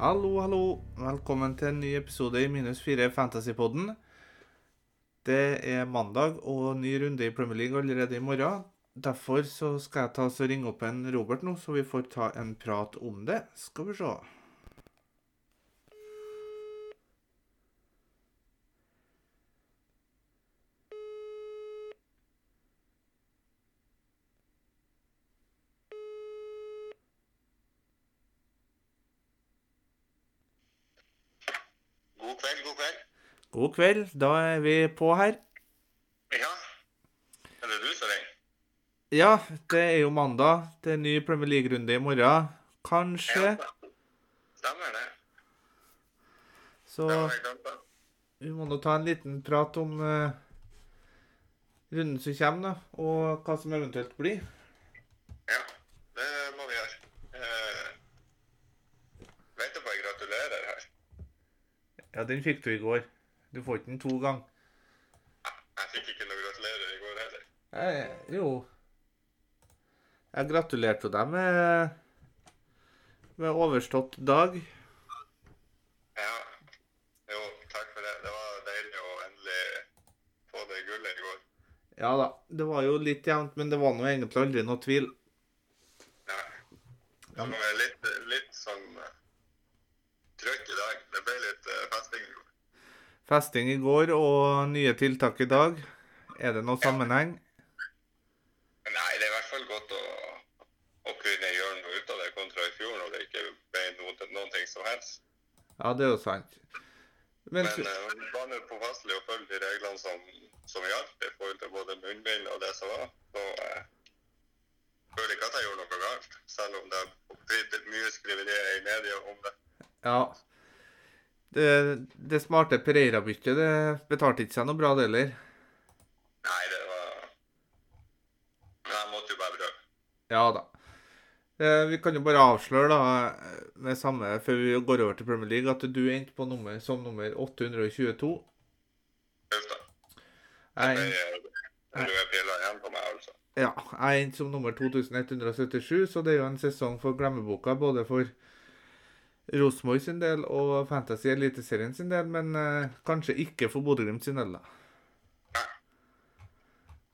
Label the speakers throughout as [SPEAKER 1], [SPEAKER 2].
[SPEAKER 1] Hallo, hallo. Velkommen til en ny episode i Minus 4 Fantasypodden. Det er mandag og ny runde i Premier League allerede i morgen. Derfor så skal jeg ta oss og ringe opp en Robert nå, så vi får ta en prat om det. Skal vi se.
[SPEAKER 2] God kveld, god kveld.
[SPEAKER 1] God kveld. Da er vi på her.
[SPEAKER 2] Ja. Er det du som ringer?
[SPEAKER 1] Ja, det er jo mandag. Det er ny Premier League-runde i morgen. Kanskje.
[SPEAKER 2] Stemmer det.
[SPEAKER 1] Så
[SPEAKER 2] Det var jeg glemt, da.
[SPEAKER 1] vi må nå ta en liten prat om eh, runden som kommer, da. Og hva som eventuelt blir.
[SPEAKER 2] Ja, det må vi gjøre. Eh, venter på å gratulere her.
[SPEAKER 1] Ja, den fikk du i går. Du får ikke den to ganger.
[SPEAKER 2] Jeg fikk ikke noe gratulerer i går heller.
[SPEAKER 1] Eh, jo. Jeg gratulerte jo deg med, med overstått dag.
[SPEAKER 2] Ja. Jo, takk for det. Det var deilig å endelig få det gullet i går.
[SPEAKER 1] Ja da, det var jo litt jevnt, men det var nå egentlig aldri noe tvil.
[SPEAKER 2] Ja. Det var litt, litt sånn eh, trøkk i dag. Det ble litt eh, festing i går.
[SPEAKER 1] Festing i går og nye tiltak i dag. Er det noe sammenheng?
[SPEAKER 2] Nei, det er i hvert fall godt å, å kunne gjøre noe ut av det kontra i fjor når det ikke ble noe, noen ting som helst.
[SPEAKER 1] Ja, det er jo sant. Men,
[SPEAKER 2] Men eh, var nå påpasselig å følge de reglene som, som gjaldt i forhold til både munnbind og det som var. Så eh, føler ikke at jeg gjorde noe galt, selv om det har blitt mye skriverier i media om det.
[SPEAKER 1] ja Det, det smarte Pereira-byttet det betalte ikke seg noe bra, det heller.
[SPEAKER 2] Nei, det var Nei, Jeg måtte jo bare prøve.
[SPEAKER 1] Ja da. Eh, Vi kan jo bare avsløre da, med samme, før vi går over til Premier League, at du endte på nummer, som nummer 822.
[SPEAKER 2] Uff da.
[SPEAKER 1] Jeg,
[SPEAKER 2] Det eh,
[SPEAKER 1] endte-
[SPEAKER 2] er røde piler igjen på meg, altså.
[SPEAKER 1] ja, jeg endte som nummer 2177, så det er jo en sesong for glemmeboka, både for Rosenborg sin del og Fantasy Eliteserien sin del, men eh, kanskje ikke for Bodø-Glimt sin del, da.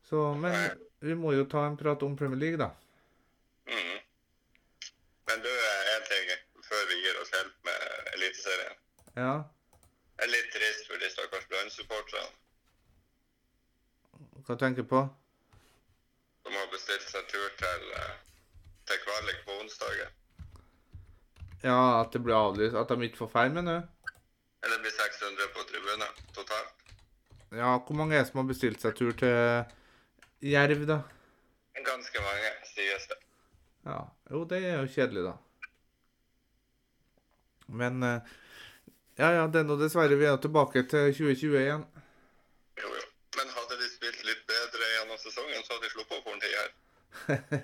[SPEAKER 1] Så, men vi må jo ta en prat om Premier League, da.
[SPEAKER 2] Mhm. Men du, eh, en ting før vi gir oss helt med Eliteserien.
[SPEAKER 1] Ja,
[SPEAKER 2] Det er litt trist for de stakkars Brann-supporterne
[SPEAKER 1] hva tenker du på?
[SPEAKER 2] som har bestilt seg tur til, eh, til kvalik på onsdagen.
[SPEAKER 1] Ja, at det blir avlyst, at de ikke får feil, mener du?
[SPEAKER 2] Eller det blir 600 på tribunen totalt.
[SPEAKER 1] Ja, hvor mange er det som har bestilt seg tur til Jerv, da?
[SPEAKER 2] Ganske mange, sies det.
[SPEAKER 1] Ja, Jo, det er jo kjedelig, da. Men eh, Ja, ja, det er nå dessverre vi er tilbake til 2020 igjen.
[SPEAKER 2] Jo, jo. Men hadde de spilt litt bedre gjennom sesongen, så hadde de sluppet opp for en tid her.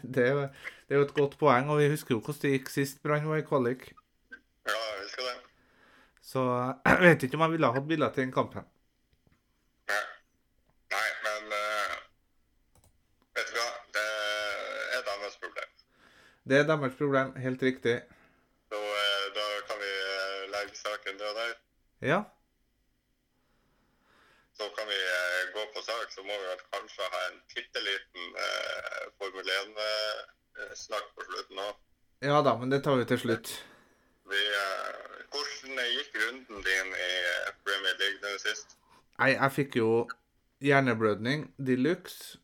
[SPEAKER 1] det, er jo, det er jo et godt poeng, og vi husker jo hvordan det gikk sist Brann var i kvalik.
[SPEAKER 2] Ja, jeg husker det.
[SPEAKER 1] Så jeg vet ikke om jeg ville ha hatt billett til den kampen.
[SPEAKER 2] Nei, Nei men eh, vet du hva? Det er deres problem.
[SPEAKER 1] Det er deres problem, helt riktig.
[SPEAKER 2] Så eh, da kan vi eh, legge saken død der.
[SPEAKER 1] Ja,
[SPEAKER 2] Så kan vi eh, gå på sak, så må vi vel kanskje ha en bitte liten eh, Formel 1-snakk på slutten òg.
[SPEAKER 1] ja da, men det tar vi til slutt.
[SPEAKER 2] Eh, hvordan gikk runden din i eh, Premier League nå sist?
[SPEAKER 1] Nei, jeg fikk jo hjerneblødning de luxe.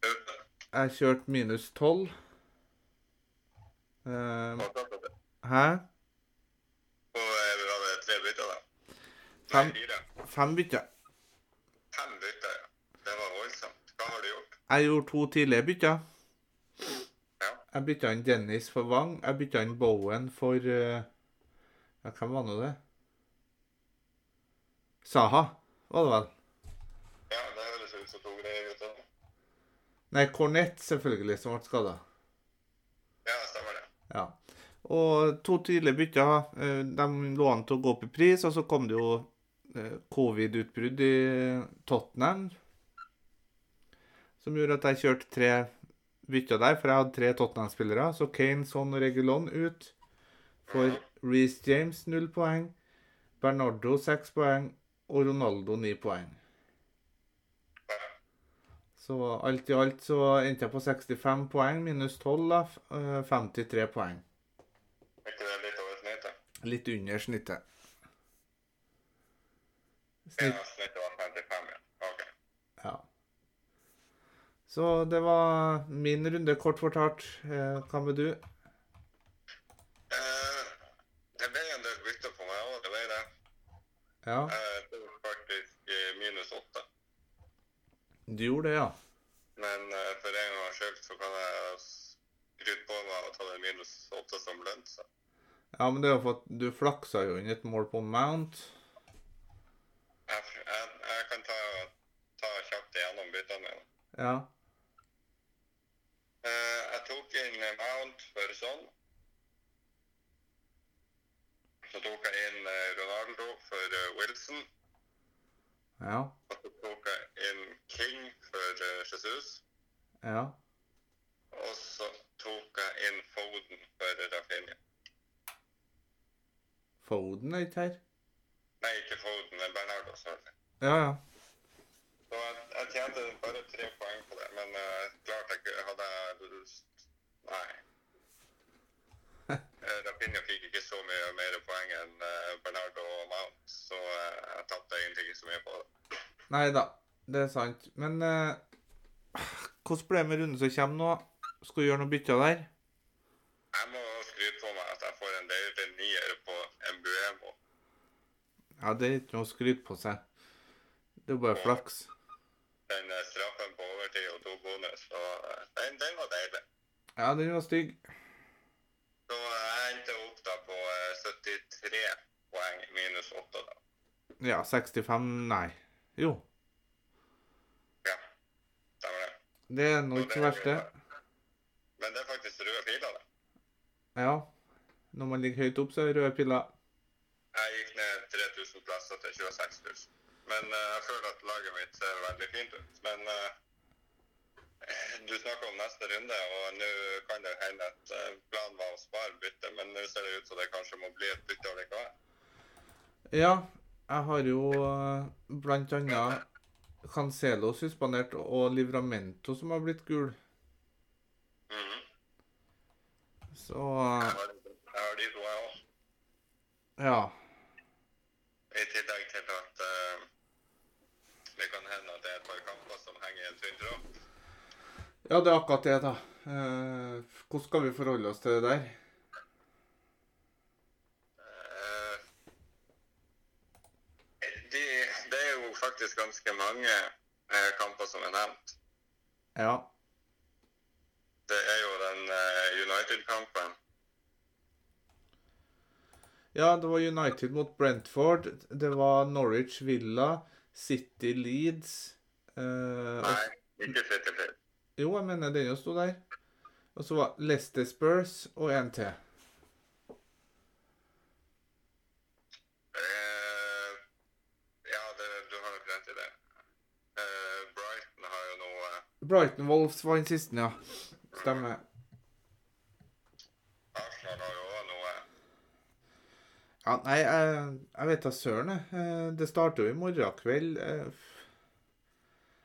[SPEAKER 2] Hva
[SPEAKER 1] Jeg kjørte minus 12. Eh,
[SPEAKER 2] sa du?
[SPEAKER 1] hæ?
[SPEAKER 2] Og eh, var det tre bytter, da?
[SPEAKER 1] Fem.
[SPEAKER 2] Nei, Fire.
[SPEAKER 1] Fem bytter.
[SPEAKER 2] Fem bytter, ja. Det var voldsomt. Hva har du gjort?
[SPEAKER 1] Jeg gjorde to tidlige bytter.
[SPEAKER 2] Ja.
[SPEAKER 1] Jeg bytta inn Dennis for Wang. Jeg bytta inn Bowen for eh, Ja, hvem var nå det? Saha, var det vel?
[SPEAKER 2] Ja, det høres ut som to greier ut av det.
[SPEAKER 1] Nei, Cornett, selvfølgelig, som ble skada.
[SPEAKER 2] Ja, stemmer det.
[SPEAKER 1] Ja. Og to tidlige bytter. eh, De lå an til å gå opp i pris, og så kom det jo eh, covid-utbrudd i Tottenham. Som gjorde at jeg kjørte tre bytter der, for jeg hadde tre Tottenham-spillere. Så Kane, Son og Regulon ut for Reece James 0 poeng, Bernardo 6 poeng og Ronaldo 9 poeng. Så alt i alt så endte jeg på 65 poeng minus 12, da. f- eh, 53 poeng.
[SPEAKER 2] Er ikke det litt over snittet?
[SPEAKER 1] Litt under snittet.
[SPEAKER 2] Ja,
[SPEAKER 1] Snitt,
[SPEAKER 2] snittet var 55, ja. Ok.
[SPEAKER 1] ja. Så det var min runde, kort fortalt. Eh, Hva med du?
[SPEAKER 2] Eh, det ble en del bytter på meg òg, det ble det.
[SPEAKER 1] Ja,
[SPEAKER 2] Eh, det var faktisk eh, minus åtte.
[SPEAKER 1] du gjorde det, ja.
[SPEAKER 2] Men eh, for en gangs skyld så kan jeg skryte på meg og ta det minus åtte som lønn. Så.
[SPEAKER 1] Ja, men det er jo for at du flaksa jo inn et mål på Mount.
[SPEAKER 2] Jeg, jeg, jeg kan ta, ta kjapt igjennom byttene mine.
[SPEAKER 1] Ja.
[SPEAKER 2] Eh, jeg tok inn Mount for sånn. Så tok jeg inn eh, Ronaldo for eh, Wilson.
[SPEAKER 1] Ja.
[SPEAKER 2] Og så tok jeg inn King for eh, Jesus.
[SPEAKER 1] Ja.
[SPEAKER 2] Og så tok jeg inn Foden for Rafinha.
[SPEAKER 1] Foden er ikke her.
[SPEAKER 2] Nei, ikke Foden, men Bernardo. Sorry.
[SPEAKER 1] Ja, ja.
[SPEAKER 2] Så jeg, jeg tjente bare tre poeng på det, men eh, klart jeg ikke- hadde jeg Nei. Eh, Rafinha fikk ikke så mye mer poeng enn eh, Bernardo og Mount, så eh, jeg tapte egentlig ikke så mye på det.
[SPEAKER 1] Nei da, det er sant. Men eh, hvordan ble det med runden som kommer nå? Skal du gjøre noe bytter der?
[SPEAKER 2] Jeg må skryte på meg at jeg får en deilig nier på Mbuemo.
[SPEAKER 1] Ja, det er ikke noe å skryte på seg. Det er bare flaks.
[SPEAKER 2] Den eh, straffen på overtid og to bonus, så eh, den, den var deilig.
[SPEAKER 1] Ja, den var stygg.
[SPEAKER 2] Så eh, jeg endte opp da på eh, 73 poeng minus 8 da.
[SPEAKER 1] Ja, 65 Nei. Jo.
[SPEAKER 2] Ja, stemmer det.
[SPEAKER 1] Det er nå ikke det verste.
[SPEAKER 2] Men det er faktisk røde piler da.
[SPEAKER 1] Ja. Når man ligger høyt opp, så er det røde piller.
[SPEAKER 2] Jeg gikk ned 3000 plasser til 26 000. Men eh, jeg føler at laget mitt ser veldig fint ut. Men eh, du snakker om neste runde, og nå kan det hende at eh, planen var å spare byttet, men nå ser det ut som det kanskje må bli et bytte allikevel.
[SPEAKER 1] Ja, jeg har jo eh, blant annet Cancelo suspendert og Livramento som har blitt gul.
[SPEAKER 2] Mhm.
[SPEAKER 1] Så
[SPEAKER 2] Jeg
[SPEAKER 1] eh,
[SPEAKER 2] har- jeg har de to, jeg òg.
[SPEAKER 1] ja.
[SPEAKER 2] I tillegg til at eh, det kan hende at det er et par kamper som henger i en tynn tråd.
[SPEAKER 1] Ja, det er akkurat det, da. Eh, hvordan skal vi forholde oss til det der?
[SPEAKER 2] Eh, de, det er jo faktisk ganske mange eh, kamper som er nevnt.
[SPEAKER 1] Ja.
[SPEAKER 2] Det er jo den eh, United-kampen.
[SPEAKER 1] ja, det var United mot Brentford. Det var Norwich Villa, City Leeds eh, og,
[SPEAKER 2] Nei, ikke City Field.
[SPEAKER 1] Jo, jeg mener den jo sto der. Og så var Leicester Spurs og en til.
[SPEAKER 2] Eh, ja, det, du har nok rett i det. Eh, Brighton har jo nå eh,
[SPEAKER 1] Brighton Wolves var den siste, ja. Stemmer.
[SPEAKER 2] Arsenal har jo også noe
[SPEAKER 1] Ja, nei, jeg, jeg vet da søren, jeg. Eh, Det starter jo i morgen kveld. Eh, f-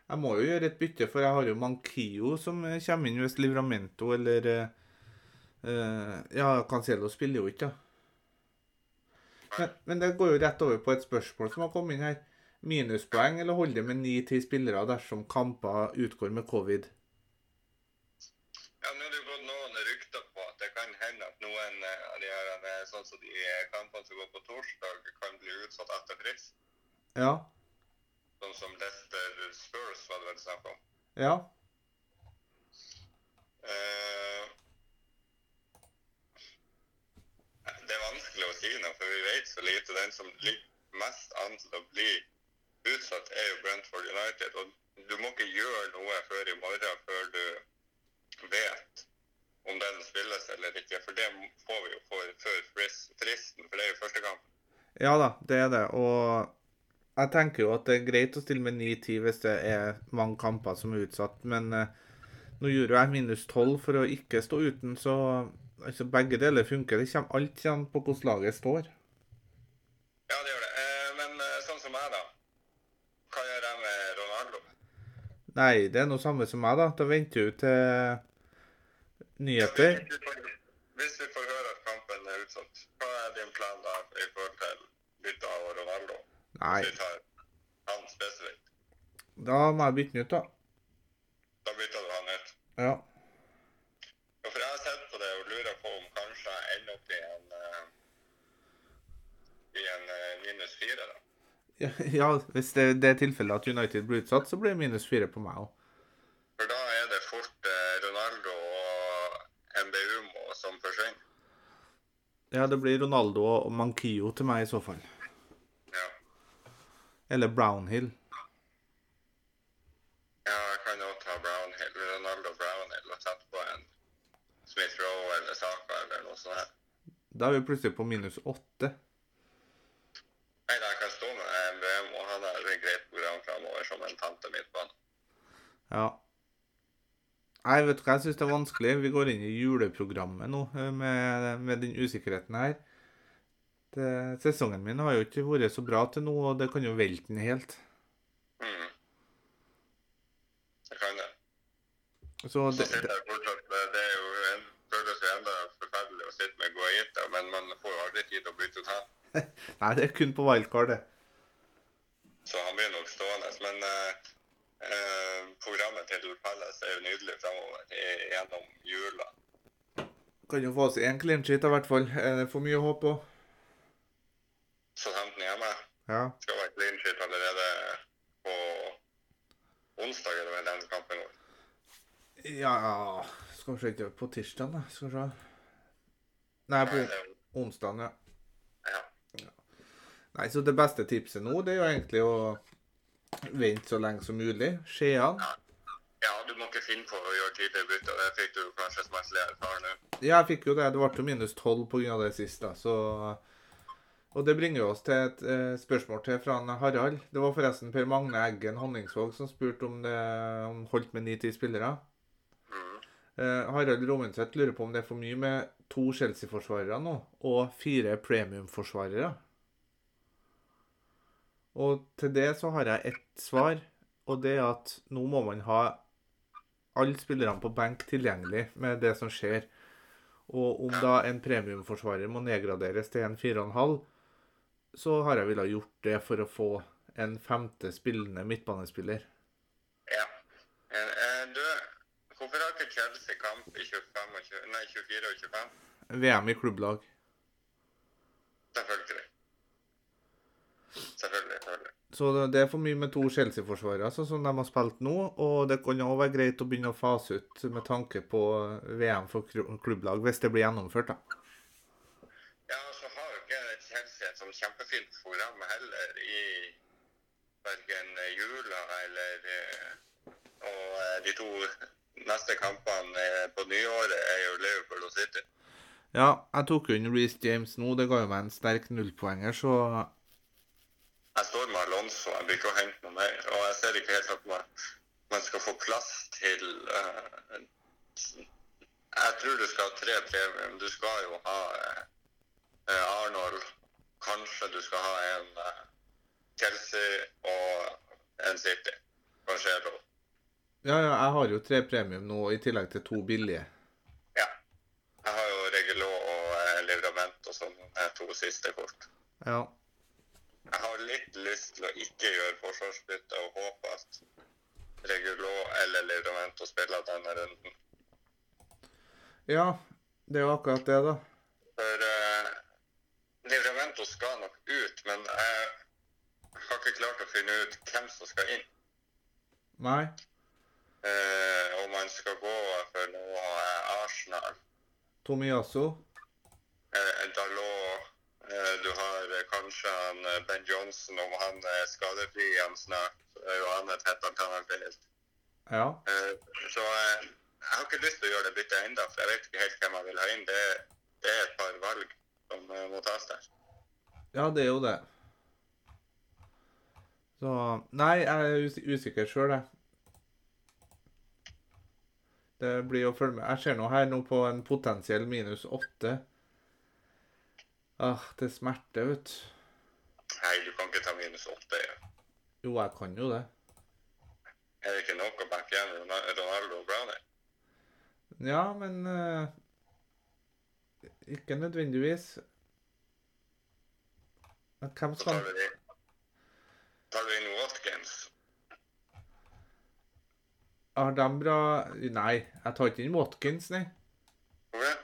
[SPEAKER 1] Jeg må jo gjøre et bytte, for jeg har jo Mankio som eh, kommer inn hvis Livramento eller eh, eh, Ja, Cancelo spiller jo ikke, da. Men, men det går jo rett over på et spørsmål som har kommet inn her. Minuspoeng eller holde med 9-10 spillere dersom kamper utgår med covid?
[SPEAKER 2] Ja, nå har det jo gått noen rykter på at det kan hende at noen eh, av de her, eh, sånn som de eh, kampene som går på torsdag, kan bli utsatt etter frist.
[SPEAKER 1] Ja.
[SPEAKER 2] Sånn som Leicester Spurs var det vel snakk om.
[SPEAKER 1] Ja.
[SPEAKER 2] Eh, det er vanskelig å si noe, for vi vet så lite. Den som ligger mest an til å bli utsatt, er jo Brentford United. Og du må ikke gjøre noe før i morgen før du vet om den spilles eller ikke. For det får vi jo for, før frist- fristen, for det er jo første kamp.
[SPEAKER 1] Ja da, det er det. Og jeg tenker jo at det er greit å stille med 9-10 hvis det er mange kamper som er utsatt, men eh, nå gjorde jo jeg minus 12 for å ikke stå uten, så altså begge deler funker. Det kommer alt igjen på hvordan laget står.
[SPEAKER 2] Ja, det gjør det. Eh, Men eh, sånn som meg, da. Hva gjør jeg med Ronaldo?
[SPEAKER 1] Nei, det er noe samme som meg, da. Da venter du til nyheter.
[SPEAKER 2] Hvis vi får- Hvis vi får høre at kampen er utsatt, hva er din plan da i forhold til gutta og Ronaldo?
[SPEAKER 1] Nei,
[SPEAKER 2] Vi tar han spesifikt.
[SPEAKER 1] da må jeg bytte den ut, da.
[SPEAKER 2] Da bytter du han ut.
[SPEAKER 1] Ja.
[SPEAKER 2] Og for jeg har sett på det og lurer på om kanskje jeg ender opp i en, eh, i en eh, minus fire, da.
[SPEAKER 1] Ja, hvis det, det er tilfellet at United blir utsatt, så blir det minus fire på meg òg.
[SPEAKER 2] For da er det fort eh, Ronaldo og MBUMO som forsvinner.
[SPEAKER 1] Ja, det blir Ronaldo og Mankio til meg i så fall.
[SPEAKER 2] Ja.
[SPEAKER 1] Eller Brownhill.
[SPEAKER 2] ja, jeg kan jo ta Brownhill, Ronaldo Brownhill og sette på en Smith Rowe eller Saka eller noe sånt. her.
[SPEAKER 1] Da er vi plutselig på minus åtte.
[SPEAKER 2] Nei, da, jeg kan stå med MBUMO. Han har et greit program fremover som en tante midtbane.
[SPEAKER 1] Ja. Nei, vet du hva, jeg syns det er vanskelig. Vi går inn i juleprogrammet nå eh, med, med den usikkerheten her. Det, sesongen min har jo ikke vært så bra til nå, og det kan jo velte den helt.
[SPEAKER 2] Mm. Det kan det.
[SPEAKER 1] Så
[SPEAKER 2] Så
[SPEAKER 1] det,
[SPEAKER 2] sitter
[SPEAKER 1] det,
[SPEAKER 2] jeg fortsatt med- Det er jo en føles jo enda forferdelig å sitte med Guaita, men man får jo aldri tid til å bytte ut han.
[SPEAKER 1] Nei, det er kun på wildcard, det.
[SPEAKER 2] Så han blir nok stående. Men eh, eh, programmet til Palace er jo nydelig fremover i- gjennom jula.
[SPEAKER 1] Kan jo få seg én clean sheet, i hvert fall. Er det for mye å håpe på?
[SPEAKER 2] Southampton hjemme
[SPEAKER 1] Ja.
[SPEAKER 2] skal være clean sheet allerede på onsdag, er det vel den kampen går.
[SPEAKER 1] Ja Skal vi se ikke på tirsdag, da? Skal vi se. Nei, på onsdag, ja.
[SPEAKER 2] Ja.
[SPEAKER 1] Nei, så det beste tipset nå, det er jo egentlig å vente så lenge som mulig. Skien.
[SPEAKER 2] ja, du må ikke finne på å gjøre tidligere bytter. Det fikk du kanskje smertelig erfare nå.
[SPEAKER 1] Ja, jeg fikk jo det. Det ble jo minus 12 pga. det siste, da. Så Og det bringer jo oss til et eh, spørsmål til fra en Harald. Det var forresten Per Magne Eggen Honningsvåg som spurte om det om holdt med 9-10 spillere.
[SPEAKER 2] Mm.
[SPEAKER 1] Eh, Harald Romenseth lurer på om det er for mye med to Chelsea-forsvarere nå, og fire premium-forsvarere. Og til det så har jeg ett svar, og det er at nå må man ha alle spillerne på benk tilgjengelig med det som skjer. Og om da en premiumforsvarer må nedgraderes til en 4,5, så har jeg villet gjort det for å få en femte spillende midtbanespiller.
[SPEAKER 2] Ja. Eh, eh, Du, hvorfor har ikke Chelsea kamp i 25 og 20, nei, 24 og 25?
[SPEAKER 1] VM i klubblag.
[SPEAKER 2] Selvfølgelig. Selvfølgelig, selvfølgelig.
[SPEAKER 1] Så det- det er for mye med to Chelsea-forsvarere, sånn som de har spilt nå. Og det kan òg være greit å begynne å fase ut med tanke på VM for kru- klubblag, hvis det blir gjennomført, da.
[SPEAKER 2] Ja, og så har jo ikke Chelsea et sånn kjempefint program heller i verken jula eller eh, Og eh, de to neste kampene eh, på nyåret er jo Liverpool og City.
[SPEAKER 1] Ja, jeg tok jo inn Reece James nå. Det ga jo meg en sterk nullpoenger, så
[SPEAKER 2] Jeg står med Alonso, jeg blir ikke å hente noe mer. Og jeg ser ikke helt at man, man skal få plass til eh, Jeg tror du skal ha tre premium. Du skal jo ha eh, eh, Arnold. Kanskje du skal ha en eh, Chelsea og en City. Kanskje Ero.
[SPEAKER 1] Ja, ja, jeg har jo tre premium nå, i tillegg til to billige.
[SPEAKER 2] Ja. Jeg har jo Regelo og eh, Livramento som er to siste kort.
[SPEAKER 1] Ja.
[SPEAKER 2] Jeg har litt lyst til å ikke gjøre forsvarsbytte og håpe at Regulo eller Livramento spiller denne runden.
[SPEAKER 1] Ja, det er jo akkurat det, da.
[SPEAKER 2] For eh, Livramento skal nok ut, men jeg har ikke klart å finne ut hvem som skal inn.
[SPEAKER 1] Nei.
[SPEAKER 2] Eh, om han skal gå for noe eh, Arsenal,
[SPEAKER 1] Tomiyasu.
[SPEAKER 2] eh, Dalot eh, Du har eh, kanskje han eh, Ben Johnson, om han er skadefri igjen snart. Er jo han et hett alternativ.
[SPEAKER 1] Ja.
[SPEAKER 2] Eh, Så eh, jeg har ikke lyst til å gjøre det byttet ennå, for jeg vet ikke helt hvem jeg vil ha inn. Det, det er et par valg som eh, må tas der.
[SPEAKER 1] Ja, det er jo det. Så Nei, jeg er us- usikker sjøl, jeg. Det Det blir å følge med. Jeg ser nå her nå på en potensiell minus åtte. Ah, det smerter, vet du.
[SPEAKER 2] Nei, du kan ikke ta minus åtte. Ja.
[SPEAKER 1] Jo, jeg kan jo det.
[SPEAKER 2] Er det ikke nok å backe igjen Ron- Ronaldo og Brownie?
[SPEAKER 1] Ja, men eh, Ikke nødvendigvis. Men hvem
[SPEAKER 2] Så tar
[SPEAKER 1] skal
[SPEAKER 2] du inn, tar du inn Watkins.
[SPEAKER 1] Har de bra Nei, jeg tar ikke inn Watkins, nei.
[SPEAKER 2] Hvorfor det?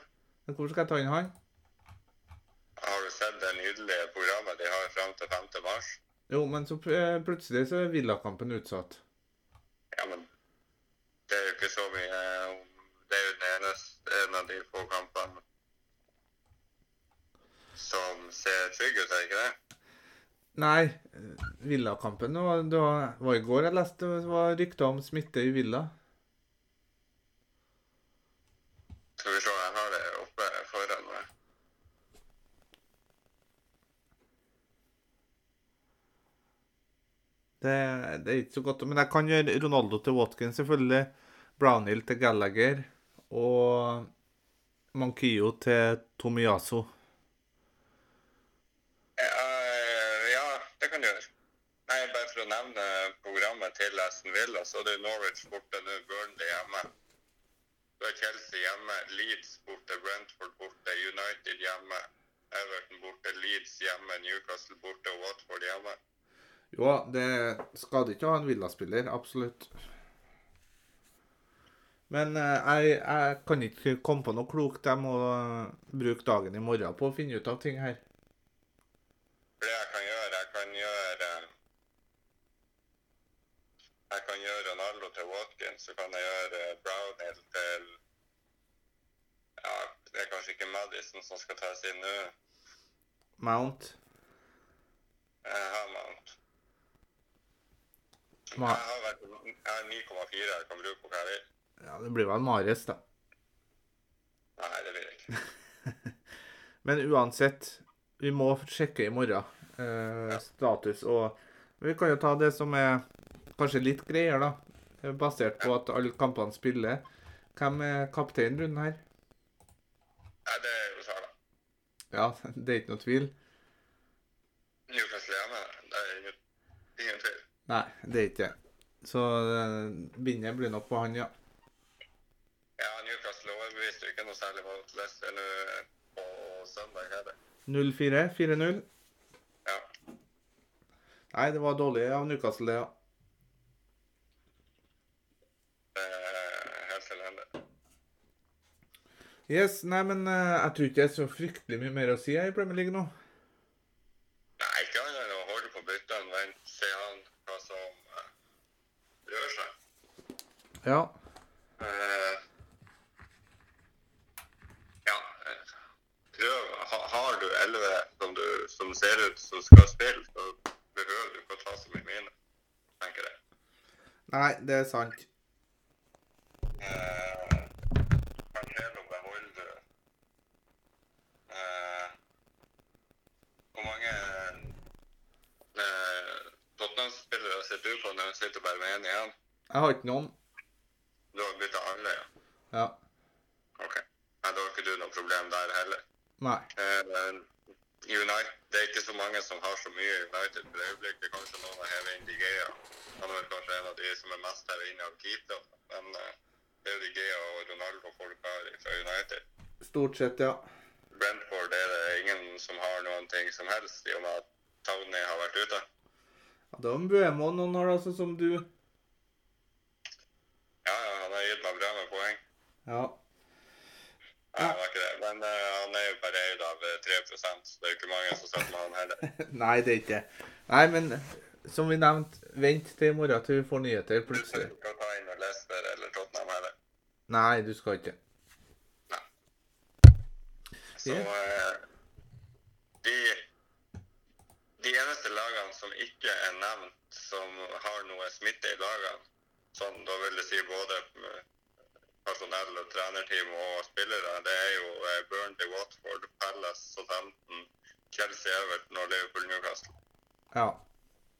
[SPEAKER 1] Men Hvor skal jeg ta inn han?
[SPEAKER 2] Har du sett det nydelige programmet de har fram til 5. mars?
[SPEAKER 1] Jo, men så pl- eh, plutselig så er Villakampen utsatt.
[SPEAKER 2] Ja, men det er jo ikke så mye eh, om Det er jo den eneste en av de få kampene som ser trygg ut, er det ikke det?
[SPEAKER 1] Nei, eh, Villakampen det var, det var, var i går jeg leste det var rykter om smitte i Villa.
[SPEAKER 2] Skal vi se, jeg har det oppe foran meg.
[SPEAKER 1] Det, det er ikke så godt. Men jeg kan gjøre Ronaldo til Watkins, selvfølgelig. Brownhill til Gallagher. Og Mankio til Tomiyasu.
[SPEAKER 2] Eh, Ja, det kan du gjøre. Nei, bare for å nevne programmet til Aston Villa, så er det Norwich borte nå, Burnley hjemme. Så er Chelsea hjemme, Leeds borte, Brentford borte, United hjemme, Everton borte, Leeds hjemme, Newcastle borte og Watford hjemme.
[SPEAKER 1] Jo, det skader ikke å ha en Villa-spiller. Absolutt. Men eh, jeg, jeg kan ikke komme på noe klokt. Jeg må eh, bruke dagen i morgen på å finne ut av ting her.
[SPEAKER 2] For det jeg kan gjøre, jeg kan gjøre eh, Jeg kan gjøre Ronaldo til Watkins, så kan jeg gjøre eh, Brownhill til Ja, det er kanskje ikke Madison som skal tas inn nå.
[SPEAKER 1] Mount.
[SPEAKER 2] Jeg har Mount. Jeg
[SPEAKER 1] Ma
[SPEAKER 2] har vært- jeg har 9,4 jeg kan bruke på hva jeg vil.
[SPEAKER 1] ja, det blir vel Mares, da.
[SPEAKER 2] Nei, det blir det ikke.
[SPEAKER 1] Men uansett, vi må sjekke i morgen eh, status. Og vi kan jo ta det som er kanskje litt greier, da. eh, Basert på at alle kampene spiller. Hvem er kapteinen i runden her?
[SPEAKER 2] Nei, det er jo Sala.
[SPEAKER 1] Ja, det er ikke noe tvil.
[SPEAKER 2] Newcastle hjemme, det er ingen, ingen tvil.
[SPEAKER 1] Nei, det er ikke det. Så eh, bindet blir nok på han, ja.
[SPEAKER 2] Ja, Newcastle overbeviste jo ikke noe særlig mot Leicester nå eh, på søndag, er det?
[SPEAKER 1] 0-4, 4-0.
[SPEAKER 2] Ja.
[SPEAKER 1] Nei, det var dårlig av Newcastle, det, ja.
[SPEAKER 2] Det er helt elendig.
[SPEAKER 1] Yes, nei, men eh, jeg tror ikke det er så fryktelig mye mer å si jeg, i Premier League nå.
[SPEAKER 2] Nei, ikke annet enn å holde på byttene, vente, se an hva som eh, rører seg.
[SPEAKER 1] Ja.
[SPEAKER 2] Eh, ja, eh, prøv. Ha, har du elleve som, du- som ser ut som skal spille, så behøver du ikke å ta så mye mine, tenker jeg.
[SPEAKER 1] Nei, det er sant.
[SPEAKER 2] Eh, Cancelo beholder du. Eh, hvor mange eh, Tottenham-spillere sitter du på når du sitter bare med én igjen?
[SPEAKER 1] Jeg har ikke noen.
[SPEAKER 2] Du har bytta alle, ja?
[SPEAKER 1] Ja.
[SPEAKER 2] OK. Nei, da har ikke du noe problem der heller.
[SPEAKER 1] Nei.
[SPEAKER 2] Eh, United, det er ikke så mange som har så mye i United for øyeblikket. Kanskje noen har hevet inn De Gea. Han er vel kanskje en av de som er mest hevet inn av Keita. Men eh, det er jo De Gea og Ronaldo folk har fra United.
[SPEAKER 1] Stort sett, ja.
[SPEAKER 2] Brentford er det ingen som har noen ting som helst, i og med at Townie har vært ute.
[SPEAKER 1] Ja, Det var en Buemo noen år, altså, som du
[SPEAKER 2] Ja, ja, han har gitt meg bra med poeng.
[SPEAKER 1] Ja.
[SPEAKER 2] Nei, det var ikke det. Men eh, han er jo bare eid av eh, 3 så det er jo ikke mange som satt med han heller.
[SPEAKER 1] Nei, det er ikke det. Nei, men som vi nevnte, vent til i morgen til vi får nyheter
[SPEAKER 2] Så
[SPEAKER 1] plutselig.
[SPEAKER 2] du kan ta inn Leicester eller Tottenham heller.
[SPEAKER 1] Nei, du skal ikke.
[SPEAKER 2] Så
[SPEAKER 1] Ja.
[SPEAKER 2] eh, de, de eneste lagene som ikke er nevnt, som har noe smitte i lagene, sånn da vil det si både eh, personell og trenerteam og spillere, det er jo eh, Burnley, Watford, Palace, Southampton, Chelsea, Everton og Liverpool Newcastle,
[SPEAKER 1] Ja.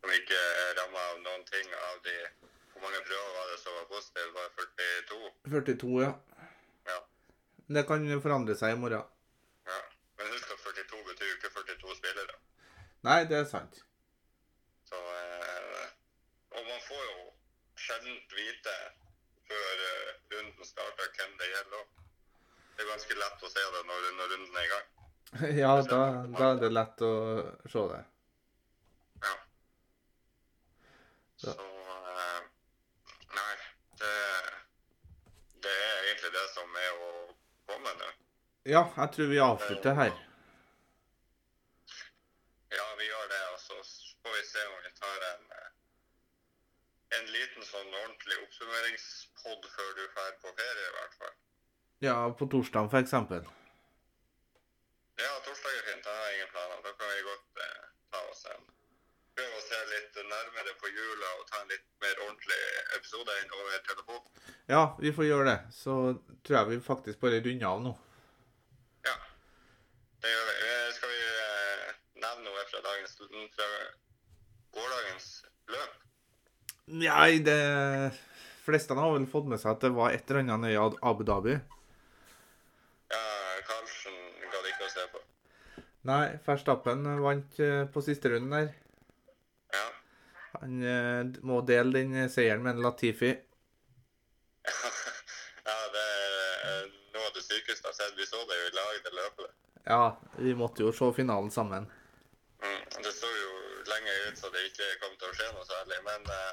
[SPEAKER 2] som ikke er rammet av noen ting av de Hvor mange prøver var det som var positive? Var det
[SPEAKER 1] 42,
[SPEAKER 2] 42?
[SPEAKER 1] ja.
[SPEAKER 2] Ja.
[SPEAKER 1] Det kan forandre seg i morgen.
[SPEAKER 2] Ja. Men husk at 42 betyr jo ikke 42 spillere.
[SPEAKER 1] Nei, det er sant.
[SPEAKER 2] Så, eh, og man får jo sjelden vite før eh, runden starter hvem det gjelder. Det er ganske lett å se det når, når runden er i gang.
[SPEAKER 1] ja, da, da er det lett å se det.
[SPEAKER 2] Ja.
[SPEAKER 1] Ja.
[SPEAKER 2] Så eh, Nei, det, det er egentlig det som er å komme nå.
[SPEAKER 1] Ja, jeg tror vi avslutter her.
[SPEAKER 2] Ja, vi gjør det, og så får vi se om vi tar en, eh, en liten sånn ordentlig oppsummeringspod før du drar på ferie, i hvert fall.
[SPEAKER 1] Ja, på torsdag for eksempel.
[SPEAKER 2] Ja, torsdag er fint. Jeg har ingen planer. Da kan vi godt eh, ta oss en Prøve å se litt nærmere på jula og ta en litt mer ordentlig episode enn over telefon.
[SPEAKER 1] Ja, vi får gjøre det. Så tror jeg vi faktisk bare runder av nå.
[SPEAKER 2] Ja. Det gjør vi. Eh, Skal vi eh, nevne noe fra dagens mm, fra gårsdagens løp?
[SPEAKER 1] Nei, det fleste har vel fått med seg at det var et eller annet nede i Ad- Abu Dhabi.
[SPEAKER 2] Ja, Karlsen gadd ikke å se på.
[SPEAKER 1] Nei, Verstappen vant eh, på siste runden der.
[SPEAKER 2] Ja.
[SPEAKER 1] Han eh, må dele den seieren med en Latifi.
[SPEAKER 2] ja, det er eh, noe av det sykeste jeg har sett. Vi så det jo i lag, det løpet.
[SPEAKER 1] Ja, vi måtte jo se finalen sammen.
[SPEAKER 2] Mm. Det så jo lenge ut så det ikke kom til å skje noe særlig, men eh,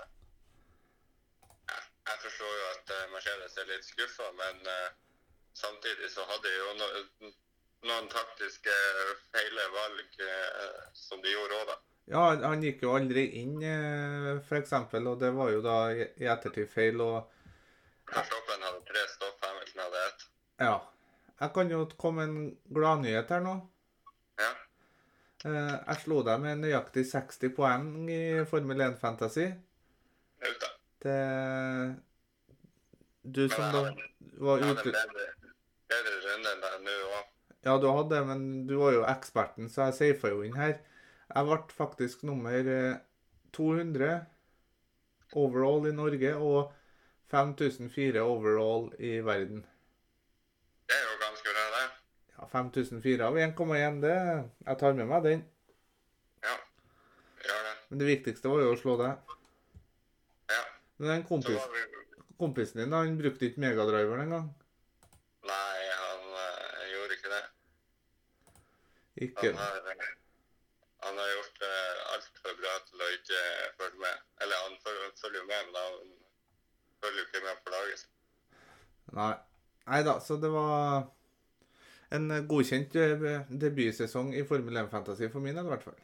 [SPEAKER 2] ja, jeg forstår jo at eh, Mercedes er litt skuffa, men eh, samtidig så hadde jo no noen taktiske feile valg eh, som de gjorde òg, da.
[SPEAKER 1] Ja, han- han gikk jo aldri inn, eh, for eksempel, og det var jo da i i ettertid feil, og
[SPEAKER 2] Verstappen hadde tre stopp, Hamilton hadde ett.
[SPEAKER 1] ja. Jeg kan jo komme med en gladnyhet her nå.
[SPEAKER 2] Ja.
[SPEAKER 1] Eh, Jeg slo deg med nøyaktig 60 poeng i Formel 1 Fantasy.
[SPEAKER 2] Ut, da.
[SPEAKER 1] Det Du som da var
[SPEAKER 2] Han hadde
[SPEAKER 1] ute
[SPEAKER 2] en bedre, bedre runde enn deg nå òg.
[SPEAKER 1] Ja, du hadde det, men du var jo eksperten, så jeg safa jo inn her. Jeg ble faktisk nummer eh, 200 overall i Norge og 5004 overall i verden.
[SPEAKER 2] Det er jo ganske bra, det.
[SPEAKER 1] Ja, 5004 av 1,1, det Jeg tar med meg den.
[SPEAKER 2] Ja. Gjør det.
[SPEAKER 1] Men det viktigste var jo å slå deg.
[SPEAKER 2] Ja.
[SPEAKER 1] Men den
[SPEAKER 2] Så
[SPEAKER 1] kompis,
[SPEAKER 2] var vi
[SPEAKER 1] kompisen din, han brukte ikke megadriveren engang.
[SPEAKER 2] Nei, han eh, gjorde ikke det.
[SPEAKER 1] Ikke
[SPEAKER 2] Han har, eh, han har gjort uh, alt for bra til å ikke følge med. Eller han følger, følger jo med, men han følger jo ikke med på laget. sitt.
[SPEAKER 1] Nei. Nei da, så det var en godkjent eh, debutsesong i Formel 1 Fantasy for min del, i hvert fall.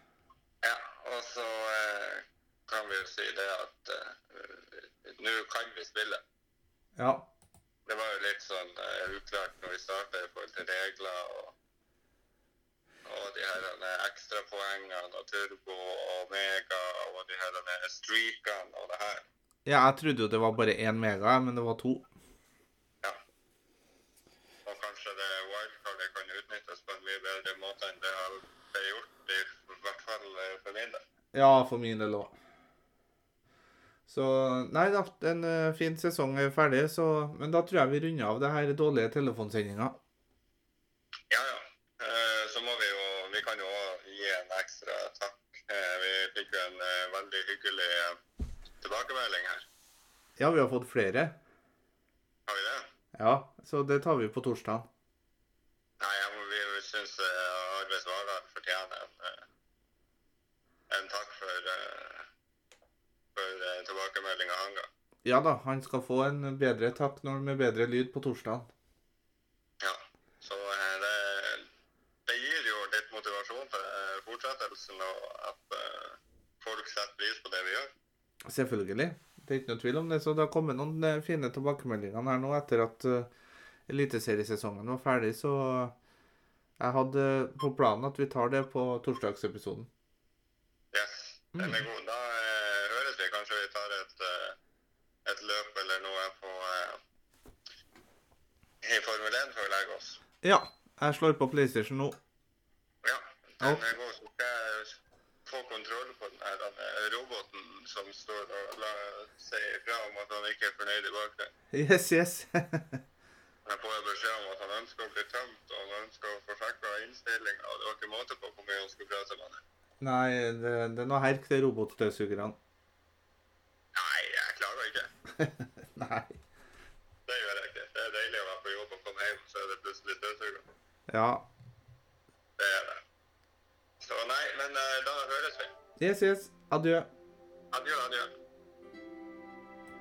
[SPEAKER 2] Ja, og så eh, kan vi jo si det at eh, nå kan vi spille.
[SPEAKER 1] Ja.
[SPEAKER 2] Det var jo litt sånn eh, uklart når vi starta i forhold til regler og, og de her eh, ekstrapoengene og turbo og mega og de her eh, streakene og det her.
[SPEAKER 1] Ja, jeg trodde jo det var bare én mega, men det var to.
[SPEAKER 2] Ja. Og kanskje det wildcardet kan utnyttes på en mye bedre måte enn det har ble gjort, i hvert fall eh, for min del.
[SPEAKER 1] Ja, for min del òg. Så Nei da, en eh, fin sesong er ferdig, så Men da tror jeg vi runder av det her dårlige telefonsendinga.
[SPEAKER 2] Ja, ja. Eh, Så må vi jo Vi kan jo også gi en ekstra takk. Eh, Vi fikk jo en eh, veldig hyggelig eh, tilbakemelding her.
[SPEAKER 1] Ja, vi har fått flere.
[SPEAKER 2] Har vi det?
[SPEAKER 1] Ja, så det tar vi på torsdag.
[SPEAKER 2] Nei, jeg må, vi syns eh, Arve Svardal fortjener en, eh, en takk for, eh, for tilbakemeldinga han ga.
[SPEAKER 1] Ja da, han skal få en bedre takk når med bedre lyd på torsdag.
[SPEAKER 2] Ja, så eh, det, det gir jo litt motivasjon til eh, fortsettelsen, og at eh, folk setter pris på det vi gjør.
[SPEAKER 1] Selvfølgelig. Det er ikke noe tvil om det. Så det har kommet noen eh, fine tilbakemeldinger her nå etter at eh, eliteseriesesongen var ferdig, så eh, jeg hadde eh, på planen at vi tar det på torsdagsepisoden.
[SPEAKER 2] Yes, den er god. Da eh, høres vi. Kanskje vi tar et, eh, et løp eller noe på eh, i Formel 1 før vi legger oss.
[SPEAKER 1] Ja. Jeg slår på PlayStation nå.
[SPEAKER 2] Ja,
[SPEAKER 1] Ja.
[SPEAKER 2] den er god. Så skal jeg få kontroll på den her eh, roboten som står og la, sier ifra om at han ikke er fornøyd i bakgrunnen.
[SPEAKER 1] Yes, yes.
[SPEAKER 2] Jeg får jo beskjed om at han ønsker å bli tømt, og han ønsker å få sjekka innstillinga, og det var ikke måte på hvor mye han skulle prate med han.
[SPEAKER 1] Nei, det, det er noe herk, det robotstøvsugerne.
[SPEAKER 2] Nei, jeg klarer ikke.
[SPEAKER 1] Nei.
[SPEAKER 2] Det gjør jeg ikke. Det er deilig å være på jobb og komme hjem, så er det plutselig støvsuger.
[SPEAKER 1] Ja.
[SPEAKER 2] Det er det. Så nei, men eh, da høres vi.
[SPEAKER 1] Yes, yes. Adjø.
[SPEAKER 2] Adjø, adjø.